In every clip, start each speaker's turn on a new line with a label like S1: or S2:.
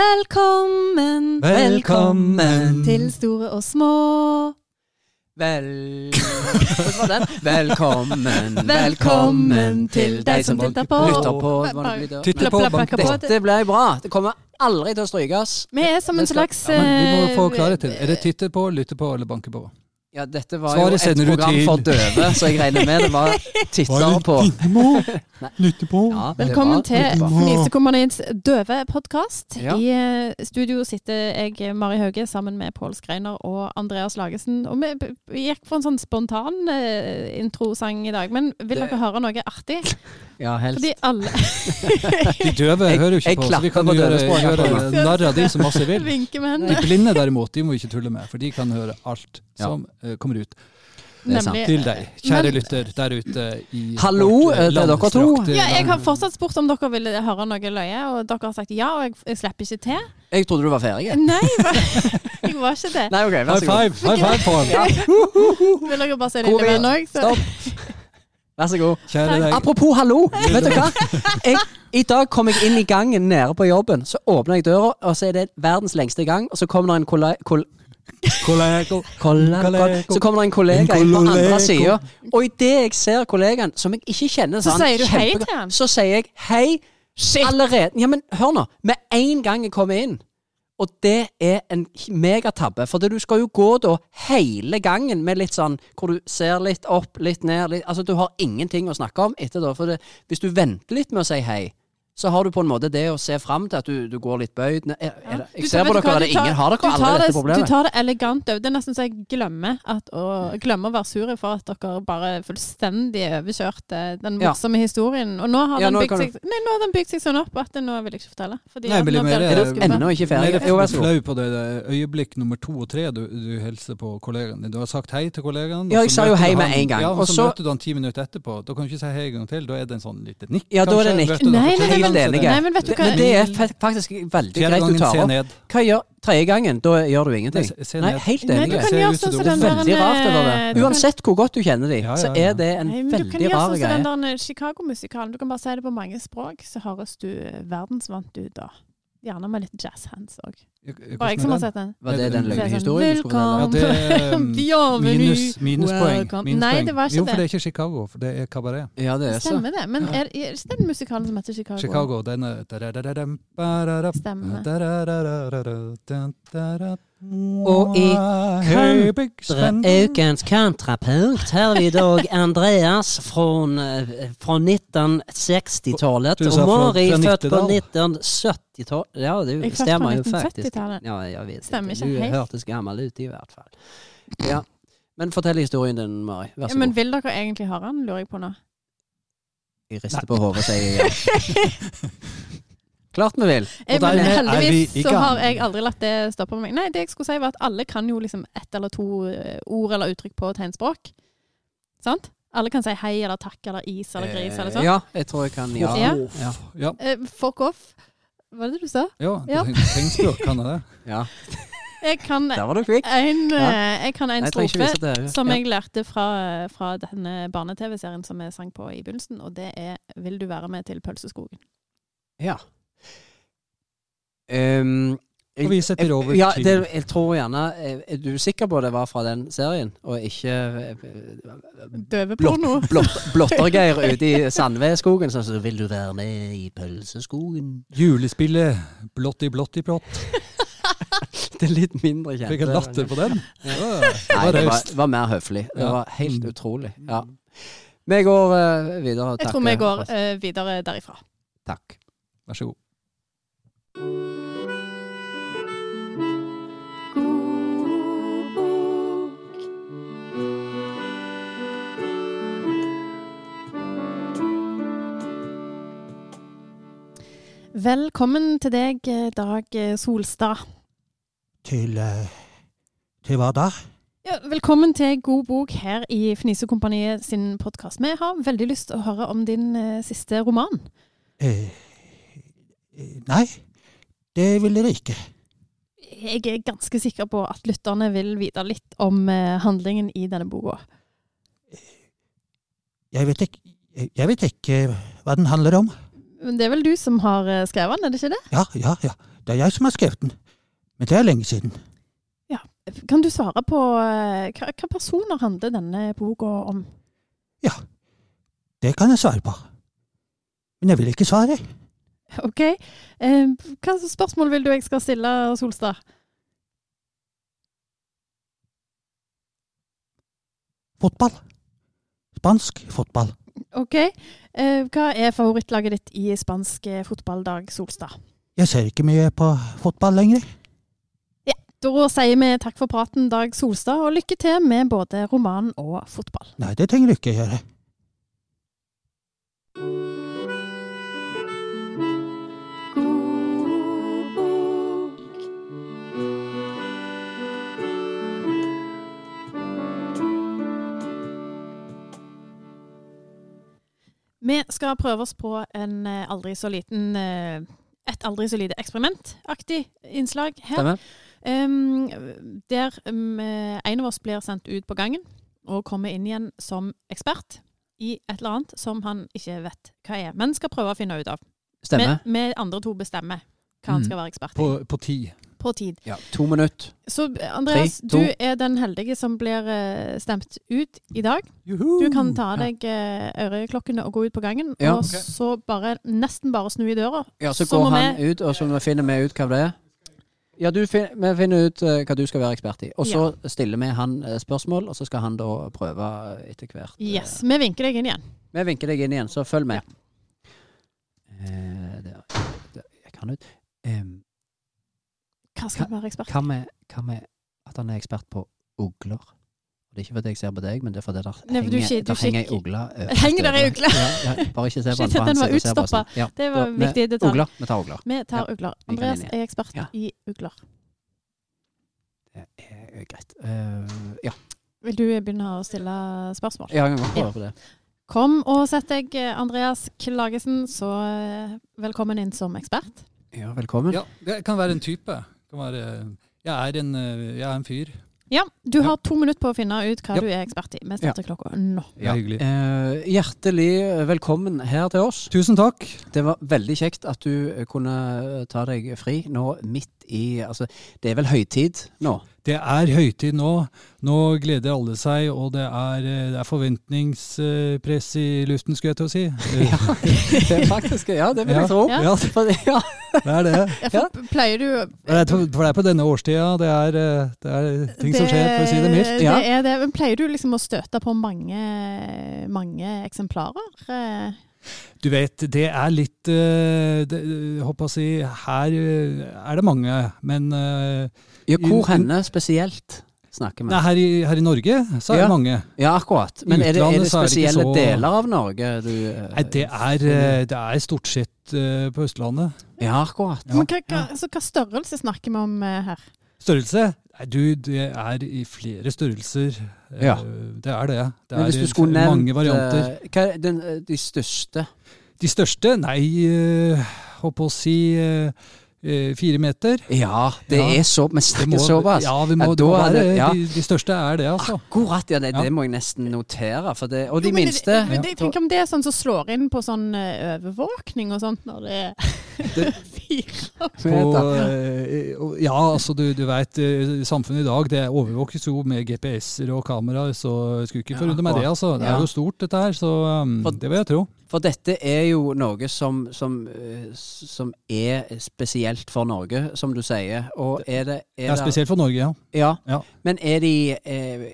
S1: Velkommen,
S2: Velkommen.
S1: til store og små.
S2: Vel...
S1: Det var den.
S2: Velkommen,
S1: Velkommen til deg som titter på.
S2: Lytter på,
S1: Bare-
S2: hva det blir da.
S1: Titter på, Plapp, plapp, banker på.
S2: Dette ble bra. Det kommer aldri til å strykes.
S1: Vi er som en
S2: Det skal-
S1: slags
S3: Ja, men vi må få
S1: eh,
S3: klarhet til. Er det titte på, lytte på eller banke på?
S2: Ja, dette var
S3: Svaret
S2: jo et
S3: sender du
S2: program
S3: til.
S2: for døve, så jeg regner med det var titter på.
S3: Lytte på.
S2: Ja, det
S1: Velkommen
S2: var
S1: til
S2: titter på.
S1: Fnisekompaniets døve podkast.
S2: Ja.
S1: I eh, studio sitter jeg, Mari Hauge, sammen med Pål Skreiner og Andreas Lagesen. Og vi, b- vi gikk for en sånn spontan eh, introsang i dag, men vil
S2: Det-
S1: dere høre noe artig?
S2: Ja, helst.
S1: Fordi alle
S3: De døve
S2: Jeg-
S3: hører jo ikke
S2: jeg
S3: på, så vi
S2: klapper
S3: kan
S2: på
S3: jo gjøre,
S2: døvespråket.
S3: gjøre narr av de som masse vil.
S1: vinker med
S3: De
S1: hendene.
S3: blinde derimot, de må vi ikke tulle med, for de kan høre alt
S2: Ja.
S3: som eh, kommer ut
S2: Det er sant.
S1: Nemlig-
S3: til deg, kjære
S1: Men-
S3: lytter der ute i
S2: Hallo,
S3: vårt, eh,
S2: eh, det er dere to.
S3: langstrakte
S1: Ja, jeg har
S3: land.
S1: fortsatt spurt om dere ville høre noe løye, og dere har sagt ja, og jeg, jeg slipper ikke til.
S2: Jeg trodde du var ferdig.
S1: Nei, jeg var, jeg var ikke det.
S2: Nei, ok, vær
S3: High
S2: så god.
S3: five! High five, Pål!
S1: Vil dere bare se det
S2: Hvor
S1: inn i
S2: er-
S1: meg nå? så-
S2: Stopp. Vær så god.
S3: Kjære deg.
S2: Apropos hallo, vet du hva? Jeg, I dag kom jeg inn i gangen nede på jobben, så åpna jeg døra, og så er det verdens lengste gang, og så kommer det en kolle... Kol,
S3: Kollega.
S2: kolle,
S3: Kollega.
S2: så kommer det en kollega
S3: En
S2: inn på
S3: kollega.
S2: andre sida, og idet jeg ser kollegaen, som jeg ikke kjenner
S1: Så
S2: sånn
S1: sier du hei
S2: kjempegodt,
S1: til han?
S2: Så sier jeg hei allerede. Ja, men hør nå. Med en gang jeg kommer inn. Og det er en megatabbe, for du skal jo gå da hele gangen med litt sånn hvor du ser litt opp, litt ned litt, Altså, du har ingenting å snakke om etter da. For det, hvis du venter litt med å si hei, så har du på en måte det å se fram til at du, du går litt bøyd ned. Er, er,
S1: Du
S2: jeg ser på
S1: vet du
S2: dere
S1: hva,
S2: at
S1: du
S2: det
S1: tar-
S2: ingen har
S1: du
S2: dere
S1: tar
S2: alle
S1: det-
S2: dette
S1: Du
S2: problemet.
S1: tar det elegant over. Det er nesten så jeg glemmer, at, å, glemmer å være sur for at dere bare fullstendig overkjørte den
S2: Ja.
S1: morsomme historien. Og nå har,
S2: Ja,
S1: den
S2: nå
S1: bygd
S2: kan
S1: seg, nei, nå har den bygd seg sånn opp at nå vil jeg ikke fortelle. Fordi
S3: Nei,
S1: at
S3: blir
S1: nå
S3: det mer-
S2: Er
S1: dere
S2: du
S3: tar-
S1: skuffet.
S2: ennå ikke
S3: Nei, det
S2: ferdig? Jo, vær så god.
S3: flau på det der øyeblikk nummer to og tre du, du hilser på kollegaen din. Du har sagt hei til kollegaen. og
S2: Ja,
S3: så
S2: jeg sa jo
S3: møter du
S2: hei med
S3: han-
S2: en gang,
S3: Ja, og
S2: og
S3: så
S2: så-
S3: møter du han ti minutter etterpå. Da kan du ikke si hei en gang til. Da er det en sånn lite nikk.
S2: Ja, da er det
S3: kanskje.
S2: nikk.
S3: Vet du, da
S1: Nei, nei,
S3: får du
S2: nei,
S3: en
S2: men-
S3: gang til
S1: Nei,
S3: det.
S1: men vet du hva?
S2: Men det er fa- faktisk veldig
S3: Fjerde
S2: greit du
S3: gangen
S2: tar
S3: se
S2: opp.
S3: ned.
S2: Hva gjør tredje gangen? Da gjør du ingenting.
S3: Nei, se
S2: Nei,
S3: ned.
S2: helt
S1: Nei,
S2: enig.
S1: du
S3: Jeg
S1: kan
S3: ser
S1: gjøre
S3: ut som
S1: sånn som
S3: du-
S1: den der eh,
S2: Veldig rart det var
S1: du
S2: det.
S1: kan-
S2: Uansett hvor godt du kjenner de,
S3: Ja, ja,
S2: så
S3: ja.
S2: er det en
S1: Nei, men du kan
S2: veldig
S1: gjøre
S2: rar
S1: sånn som
S2: greie.
S1: den der Chicago-musikalen. Du kan bare si det på mange språk, så høres du eh, verdensvant ut da. Gjerne med litt jazzhands òg. Bare jeg som har sett den.
S2: Var det den
S3: Så er det
S1: sånn,
S2: løgne historien du skulle
S3: Ja,
S2: fortelle?
S3: det er
S2: mm,
S3: um,
S1: Bienvenue.
S3: minus, minuspoeng.
S1: Welcome.
S3: minuspoeng.
S1: Nei, det var ikke
S3: jo, for
S1: det.
S3: det er ikke Chicago, for det er kabaret.
S2: Ja, det er så.
S1: Stemmer det? Men er, er det den musikalen som heter Chicago?
S3: Chicago, den er da-da-da-dam, ba-da-da,
S1: Stemmer.
S3: da-da-da-da-da-da, da-da-da.
S2: Og i
S3: Hey, big spender.
S2: Ukens kontrapunkt har vi i dag Andreas fra, fra 1960-tallet.
S3: Du
S2: Og
S3: sa fra-
S2: Mari
S3: fra
S2: født på
S3: 90-tallet.
S2: 1970-tallet. Ja,
S1: Jeg
S2: det
S1: er født på
S2: stemmer jo faktisk.
S1: 1970-tallet.
S2: Ja, jeg vet
S1: Stemmer
S2: ikke.
S1: ikke
S2: Du
S1: helt.
S2: hørtes gammel ut i hvert fall. Ja. Men fortell historien din, Mari. Vær
S1: Ja,
S2: så
S1: men
S2: god.
S1: vil dere egentlig høre den, lurer jeg på nå?
S2: Jeg rister på hodet og sier ja. Klart vi vil.
S1: Eh,
S3: Og
S1: men
S3: dermed er
S1: heldigvis
S3: vi i
S1: så
S3: gang.
S1: har jeg aldri latt det stoppe meg. Nei, det jeg skulle si var at alle kan jo liksom ett eller to eh, ord eller uttrykk på tegnspråk. Sant? Alle kan si hei eller takk eller is
S2: Eh,
S1: eller gris eller sånn.
S2: Ja, jeg tror jeg kan ja.
S1: Ja.
S2: Ja.
S3: Ja,
S1: Eh, fuck off. Hva er det du sa?
S3: ja.
S1: Ja.
S3: Tegnspråk kan jeg det.
S2: ja.
S1: Jeg kan
S2: Der var du flink.
S1: en,
S2: Ja.
S1: eh, jeg kan en
S2: Nei, jeg trenger ikke
S1: strofe
S2: vise det.
S1: som
S2: Ja.
S1: jeg lærte fra, fra denne barne-TV-serien som jeg sang på i begynnelsen, og det er 'Vil du være med til Pølseskogen'?
S2: Ja. Ehm, jeg-
S3: Og vi setter
S2: jeg-
S3: over
S2: ja,
S3: til-
S2: det, jeg tror gjerne eh, Er er du sikker på det var fra den serien, og ikke eh,
S1: Døveporno.
S2: blott, Blottergeir ute i Sandvedskogen som sier 'Vil du være med i pølseskogen?'
S3: Julespillet Blotti Blotti Blott.
S2: Det er litt mindre kjent.
S3: Fikk jeg latter på den? Ja,
S2: Nei, det var,
S3: raust.
S2: det var mer høflig. Det
S3: Ja.
S2: var helt
S3: Mm.
S2: utrolig. Ja. Vi går eh, videre.
S1: Jeg
S2: Takk.
S1: tror vi går
S2: altså.
S1: eh, videre derifra.
S2: Takk.
S3: Vær så god.
S1: Velkommen til deg, eh, Dag eh, Solstad.
S4: Til eh, Til hva da?
S1: Ja, velkommen til God bok her i Fnisekompaniet sin podkast. Vi har veldig lyst til å høre om din eh, siste roman.
S4: Eh, eh, nei, det vil dere ikke.
S1: Jeg er ganske sikker på at lytterne vil vite litt om eh, handlingen i denne boka.
S4: Jeg vet ikke, jeg vet ikke hva den handler om.
S1: Men Det er vel du som har eh, skrevet den, er det ikke det?
S4: Ja, ja, ja. Det er jeg som har skrevet den. Men det er lenge siden.
S1: Kan du svare på eh, hva, hva personer handler denne boka om?
S4: Det kan jeg svare på. Men jeg vil ikke svare.
S1: Ok. Eh, hva slags spørsmål vil du jeg skal stille, Solstad?
S4: Fotball. Spansk fotball.
S1: Ok. Eh, hva er favorittlaget ditt i spansk eh, fotballdag, Solstad?
S4: Jeg ser ikke mye på fotball lenger.
S1: Da sier vi takk for praten, Dag Solstad, og lykke til med både roman og fotball.
S4: Nei, det trenger du ikke gjøre.
S1: Vi skal prøve oss på en eh, aldri så liten eh, et aldri så lite eksperimentaktig innslag her.
S2: Stemmer?
S1: Em, der em, eh, en av oss blir sendt ut på gangen og kommer inn igjen som ekspert i et eller annet som han ikke vet hva er, men skal prøve å finne ut av.
S2: Stemmer.
S1: Vi- Vi andre to bestemmer hva han
S3: Mm.
S1: skal være ekspert i.
S3: På, på ti.
S1: på tid.
S2: To minutter.
S1: Så Andreas,
S2: Tre, to.
S1: du er den heldige som blir eh, stemt ut i dag.
S3: Juhu!
S1: Du kan ta av deg eh, øreklokkene og gå ut på gangen,
S2: Ja.
S1: og så bare, nesten bare snu i døra.
S2: Ja, så
S1: Så
S2: går
S1: må
S2: han ut, og så må- finner vi ut hva det er. Ja, du fin vi finner ut eh, hva du skal være ekspert i. Og så stiller vi han eh, spørsmål, og så skal han da prøve eh, etter hvert. eh,
S1: Yes, vi vinker deg inn igjen.
S2: Vi vinker deg inn igjen, så følg med. Eh, der, der, jeg kan ut. Em,
S1: Hva skal du være ekspert?
S2: hva med, hva med at han er ekspert på ugler? Det er ikke fordi jeg ser på deg, men det er fordi der
S1: Nei, for du
S2: henger,
S1: kik- du
S2: der henger ei
S1: kikk-
S2: ugle. øverst
S1: Henger der ei
S2: over.
S1: ugle?
S2: Ja, ja, bare ikke se på
S1: Shit,
S2: den, for
S1: den
S2: han
S1: var
S2: sitter og ser på oss.
S1: utstoppet.
S2: Ja,
S1: Det var en
S2: vi-
S1: viktig detalj.
S2: Ugler. Vi tar ugler.
S1: Vi tar
S2: Ja,
S1: ugler.
S2: den
S1: Andreas
S2: inn
S1: er ekspert
S2: Ja.
S1: i ugler.
S2: Det er Eh, greit. Eh, ja.
S1: Vil du begynne å stille spørsmål?
S2: Ja, jeg kan godt prøve
S1: Ja.
S2: på det.
S1: Kom og sett deg, eh, Andreas Klagesen, så eh, velkommen inn som ekspert.
S2: Ja, velkommen.
S3: Ja, det kan være en type. Det Kan være, jeg, er en, eh, jeg er en fyr.
S1: Ja, du
S3: Ja.
S1: har to minutter på å finne ut hva
S3: Ja.
S1: du er ekspert i. Vi starter klokka nå.
S3: Det er hyggelig.
S2: Eh, hjertelig velkommen her til oss.
S3: Tusen takk.
S2: Det var veldig kjekt at du eh, kunne eh, ta deg fri nå midt i Altså, det er vel høytid nå?
S3: Det er høytid nå. Nå gleder alle seg, og det er, eh, det er forventningspress i luften, skulle jeg til å si. Eh,
S2: Det er faktisk Ja, det vil jeg
S3: Ja.
S2: tro.
S1: Ja.
S3: Ja,
S2: For det- ja.
S3: det er det.
S2: Ja.
S1: Pleier du
S3: For det er- For det er på denne årstida. Det er, eh, det er ting som skjer, for å si det mildt.
S2: Ja.
S1: Det er det. Men pleier du liksom å støte på mange, mange eksemplarer? Eh,
S3: Du vet, det er litt eh, det, jeg Håper å si Her eh, er det mange, men eh,
S2: ja hvor henne spesielt snakker
S3: nei,
S2: vi?
S3: her, i, her i Norge så er
S2: Ja.
S3: det mange.
S2: Ja, akkurat. Men er det, er
S3: Utlandet
S2: det
S3: så er det ikke
S2: spesielle
S3: så-
S2: deler av Norge du eh,
S3: Nei, det er, eh, det er stort sett eh, på Østlandet.
S2: Ja, akkurat.
S1: Men hva, hva, altså, hva størrelse snakker vi om eh, her?
S3: Størrelse? Nei, Du, det er i flere størrelser. Eh,
S2: Ja.
S3: Det er det. Det
S2: Men hvis
S3: er
S2: du skulle nevnt
S3: mange varianter.
S2: eh, hva er den, eh, de største
S3: De største? Nei, eh, holdt på å si eh, eh, fire meter.
S2: Ja, det
S3: Ja.
S2: er så Vi
S3: Det
S2: snakker
S3: må-
S2: såpass.
S3: Ja, vi må,
S2: Ja,
S3: det må
S2: da er
S3: være,
S2: det- ja. Ah,
S3: de, de største er det, altså.
S2: Akkurat, ja. Det,
S3: Ja.
S2: det må jeg nesten notere. For det, og
S1: Jo,
S2: de
S1: men det-
S2: minste
S1: men det- Jeg tenker om det er sånn som slår inn på sånn eh, overvåkning og sånt, når det er
S2: Det-
S1: fire
S2: Meter.
S3: På, eh, og- ja, altså du, du veit samfunnet i dag det overvåkes jo med GPS-er og kameraer, så jeg skulle ikke
S2: Ja,
S3: forundre meg det, altså. Det
S2: Ja.
S3: er jo stort dette her, så um,
S2: For-
S3: det vil jeg tro.
S2: For dette er jo noe som, som, eh, s- som er spesielt for Norge, som du sier. Og er det,
S3: Det er spesielt for Norge, ja.
S2: Ja.
S3: Ja.
S2: Men er de eh,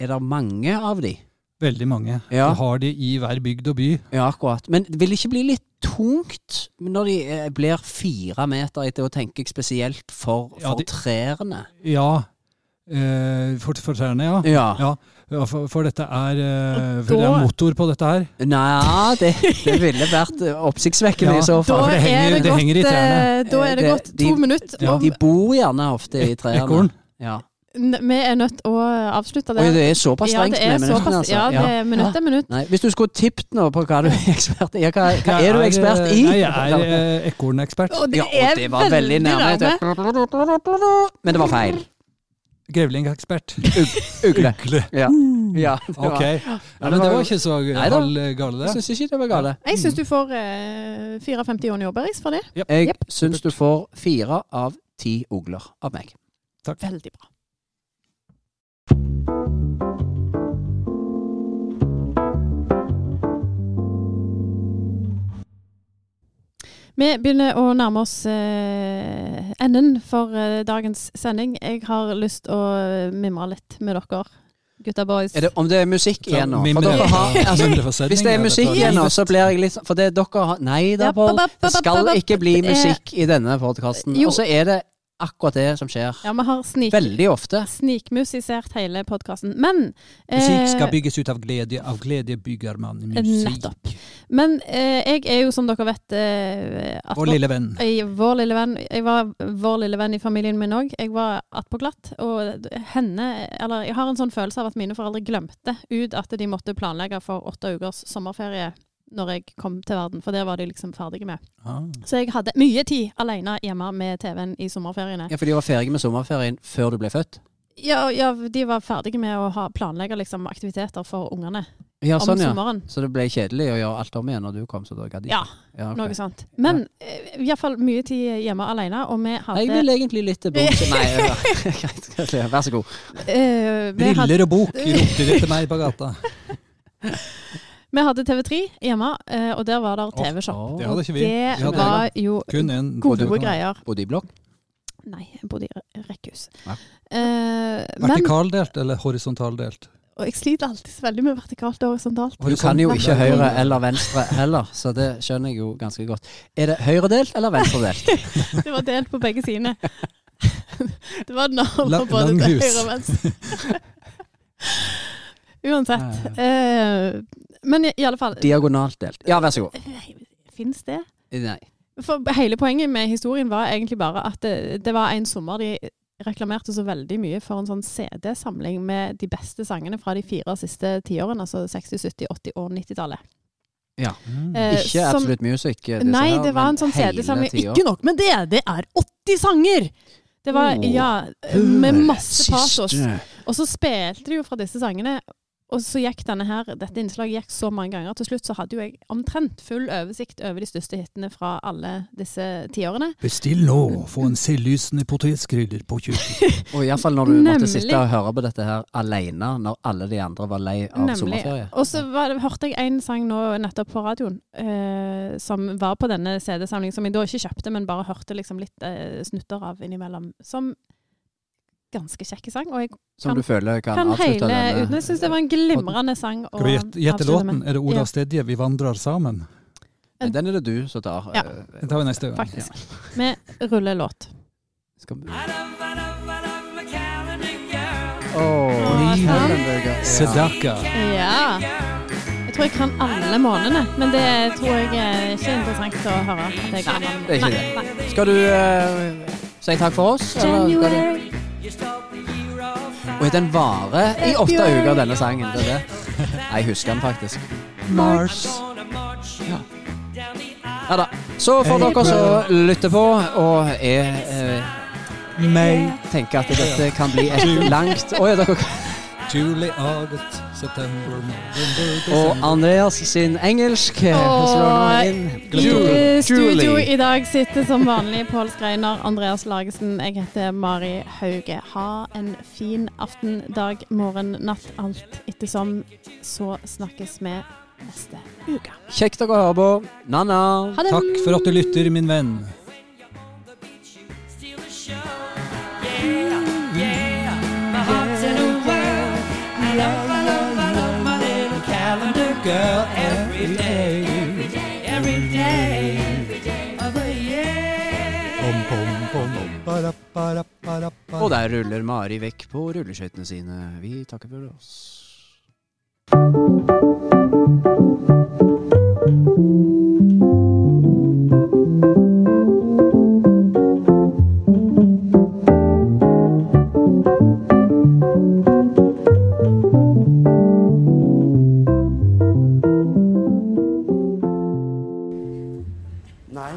S2: Er det mange av de?
S3: Veldig mange.
S2: Ja.
S3: Du har de i hver bygd og by.
S2: Ja, akkurat. Men vil det ikke bli litt tungt når de eh, blir fire meter etter, og tenker jeg spesielt for, for
S3: Ja, de-
S2: trærne?
S3: Ja. Eh, for, for trærne, ja.
S2: Ja.
S3: Ja, ja for, for dette er eh,
S1: Og
S3: for Det
S1: da-
S3: er motor på dette her.
S2: Nei, det, det ville vært eh, oppsiktsvekkende
S3: Ja,
S2: i så
S3: da
S2: fall.
S3: for det henger- det henger i trærne.
S1: eh, da er det
S2: Det-
S1: godt
S2: de-
S1: to minutter.
S3: Ja.
S1: og
S2: De bor gjerne ofte i trærne.
S3: Ekorn.
S2: Ja.
S1: n- Vi er nødt å avslutte
S2: Oi,
S1: det.
S2: det er såpass
S1: Ja,
S2: strengt
S1: det er
S2: med minuttene,
S1: såpass.
S2: altså.
S1: Ja, det
S2: Ja.
S1: er minutt er minutt.
S2: Nei, hvis du skulle tippet nå på hva du er ekspert i ja, hva, hva
S3: Jeg
S2: er du ekspert i?
S3: Nei, jeg er eh, ekornekspert.
S1: Og
S2: ja, og det var veldig nærme. vet du. Men det var feil.
S3: Grevlingekspert.
S2: Ugle.
S3: Ugle.
S2: Ja. ja det var-
S3: Ok. Ja, men det var ikke så
S2: Nei da.
S3: halvgale,
S2: Jeg
S3: det.
S2: syns ikke det var gale.
S1: Jeg syns du får eh, 54 i jordbæris for det.
S2: Jeg
S1: Jepp.
S2: syns du får fire av ti ugler av meg.
S1: Veldig bra. Vi begynner å nærme oss eh, enden for eh, dagens sending. Jeg har lyst å eh, mimre litt med dere, gutta boys.
S2: Er det, om det er musikk igjen nå? For
S3: Mimre-
S2: dere har, altså,
S3: mimreforsetning
S2: hvis det er
S3: dette.
S2: musikk igjen nå, så blir jeg litt sånn For det dere har Nei da,
S1: Ja,
S2: Pål.
S1: ba, ba, ba,
S2: Det skal
S1: ba, ba.
S2: ikke bli
S1: Det er-
S2: musikk i denne podkasten.
S1: Eh, Jo.
S2: Og så er det akkurat det som skjer.
S1: Ja, vi har snik,
S2: Veldig ofte.
S1: snikmusisert hele podkasten. Men
S3: Musikk skal
S1: eh,
S3: bygges ut av glede, av glede bygger man musikk.
S1: Nettopp. Men eh, jeg er jo, som dere vet eh, at-
S3: Vår lille venn.
S1: Jeg, vår lille venn, jeg var vår lille venn i familien min òg. Jeg var attpåklatt. Og henne, eller jeg har en sånn følelse av at mine foreldre glemte ut at de måtte planlegge for åtte ukers sommerferie når jeg kom til verden, for det var de liksom ferdige med.
S3: Ah.
S1: Så jeg hadde mye tid alene hjemme med TV-en i sommerferiene.
S2: Ja, For de var ferdige med sommerferien før du ble født?
S1: Ja, ja, de var ferdige med å ha, planlegge liksom, aktiviteter for ungene
S2: Ja,
S1: om
S2: sånn, ja.
S1: sommeren.
S2: Så det ble kjedelig å gjøre alt om igjen når du kom, så da gadd de
S1: Ja,
S2: Ja, ok.
S1: noe sånt. Men eh, i hvert fall mye tid hjemme alene, og vi hadde
S2: Nei, Jeg vil egentlig litt tilbake Nei, ja. greit. greit, Vær så god.
S1: eh, vi hadde-
S3: Briller og bok ropte de til meg på gata.
S1: Vi hadde TV3 hjemme, eh, og der var der TV-shop.
S3: Det hadde ikke vi.
S1: Det
S3: Vi hadde
S1: var jo
S3: Kun en
S1: gode
S3: TV-kanal.
S1: greier.
S2: Bodde i blokk?
S1: Nei, jeg bodde i rekkehus.
S2: Ja.
S1: Eh, men
S3: Vertikaldelt eller horisontaldelt?
S1: og jeg sliter alltid så veldig med vertikalt og horisontalt.
S2: Du kan jo ikke høyre eller venstre heller, så det skjønner jeg jo ganske godt. Er det høyredelt eller venstredelt?
S1: Det var delt på begge sidene. Det var den
S3: La-
S1: over både til
S3: langhus.
S1: høyre og venstre. Uansett. eh, men i, i alle fall
S2: Diagonalt delt. Ja, vær så god.
S1: Fins det?
S2: Nei.
S1: For hele poenget med historien var egentlig bare at det, det var en sommer de reklamerte så veldig mye for en sånn CD-samling med de beste sangene fra de fire siste tiårene, altså 60-, 70-, 80- og 90-tallet.
S2: Ja.
S1: Eh,
S2: Ikke
S1: som-
S2: Absolute Music. eh, disse
S1: Nei,
S2: her,
S1: det var
S2: men
S1: en sånn
S2: hele
S1: CD-samling.
S2: tida.
S1: Ikke nok med det, det er 80 sanger! Det var,
S2: Åh.
S1: ja, med masse
S2: Siste.
S1: pasos. Og så spilte de jo fra disse sangene, og så gikk denne her, dette innslaget gikk så mange ganger. Til slutt så hadde jo jeg omtrent full oversikt over de største hitene fra alle disse tiårene.
S3: Bestill nå! Få en selvlysende potetkrydder på kjøkkenet.
S2: Og iallfall når du måtte
S1: Nemlig.
S2: sitte og høre på dette her alene når alle de andre var lei av sommerferie.
S1: Og så var det- hørte jeg en sang nå nettopp på radioen eh, som var på denne CD-samlingen, som jeg da ikke kjøpte, men bare hørte liksom litt eh, snutter av innimellom. Som ganske kjekk sang. Og jeg
S2: Som
S1: Kan-
S2: du føler kan,
S1: kan
S2: avslutte
S1: hele uten.
S2: denne
S1: Jeg syns det var en glimrende sang. å
S3: eh, Skal vi gjette- gjette
S1: avslutte
S3: låten?
S1: med.
S3: Er det
S1: Ja.
S3: Oda Stedje 'Vi vandrer sammen'?
S2: Nei, Den er det du som tar.
S1: Ja.
S2: eh,
S3: Den tar vi neste gang.
S1: Faktisk. Med rullelåt.
S2: Skal vi-
S5: Girl.
S2: Åh,
S1: Åh, sant.
S2: Kallenberger. Ja.
S3: Sedaka.
S1: Ja. Jeg tror jeg kan alle månedene, men det tror jeg er ikke interessant å høre. At jeg kan alle.
S2: det er ikke det.
S1: Nei, nei.
S2: Skal du eh, si takk for oss? eller skal du-
S1: January.
S5: You start the year off fine.
S2: Og den varer i åtte uker, denne sangen. Det er det. Jeg husker den faktisk.
S3: Mars.
S5: Gonna march you down the aisle.
S2: Ja da. Så får dere som lytter på og er eh,
S3: May.
S2: tenker at dette kan bli et langt Oi, dere
S3: Juli, august, september, november,
S2: Og
S3: desember.
S2: Andreas sin engelsk eh,
S1: Åh,
S2: slår nå inn.
S1: I
S2: Ju-
S1: studio
S2: Julie.
S1: i dag sitter som vanlig Pål Skreiner, Andreas Lagesen, jeg heter Mari Hauge. Ha en fin aften, dag, morgen, natt, alt ettersom. Så snakkes vi neste uke.
S2: Kjekt dere å høre på. Na-na.
S1: Ha det!
S3: Takk for at du lytter, min venn.
S5: steal the show. Yeah, yeah, my heart's in a whirl. I love, I love, I love my little calendar girl every day, every day of the year.
S4: Bom, bom, bom, bom, ba-da, ba-da, ba-da, ba-da.
S2: Og der ruller Mari vekk på rulleskøytene sine. Vi takker for oss.
S6: Nei,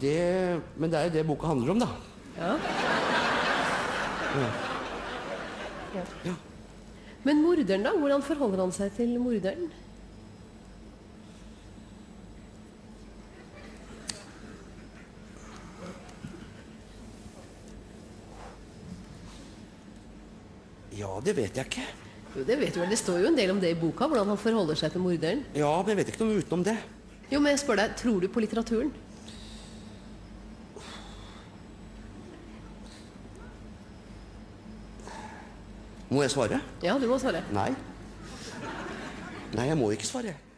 S6: det Men det er jo det boka handler om, da. Ja. Men morderen, da? Hvordan forholder han seg til morderen?
S7: Ja, det vet jeg ikke.
S6: Jo, Det vet du vel, det står jo en del om det i boka, hvordan han forholder seg til morderen.
S7: Ja, men jeg vet ikke noe utenom det.
S6: Jo, men jeg spør deg, tror du på litteraturen?
S7: Må jeg svare?
S6: Ja, du må svare.
S7: Nei. Nei, jeg må ikke svare.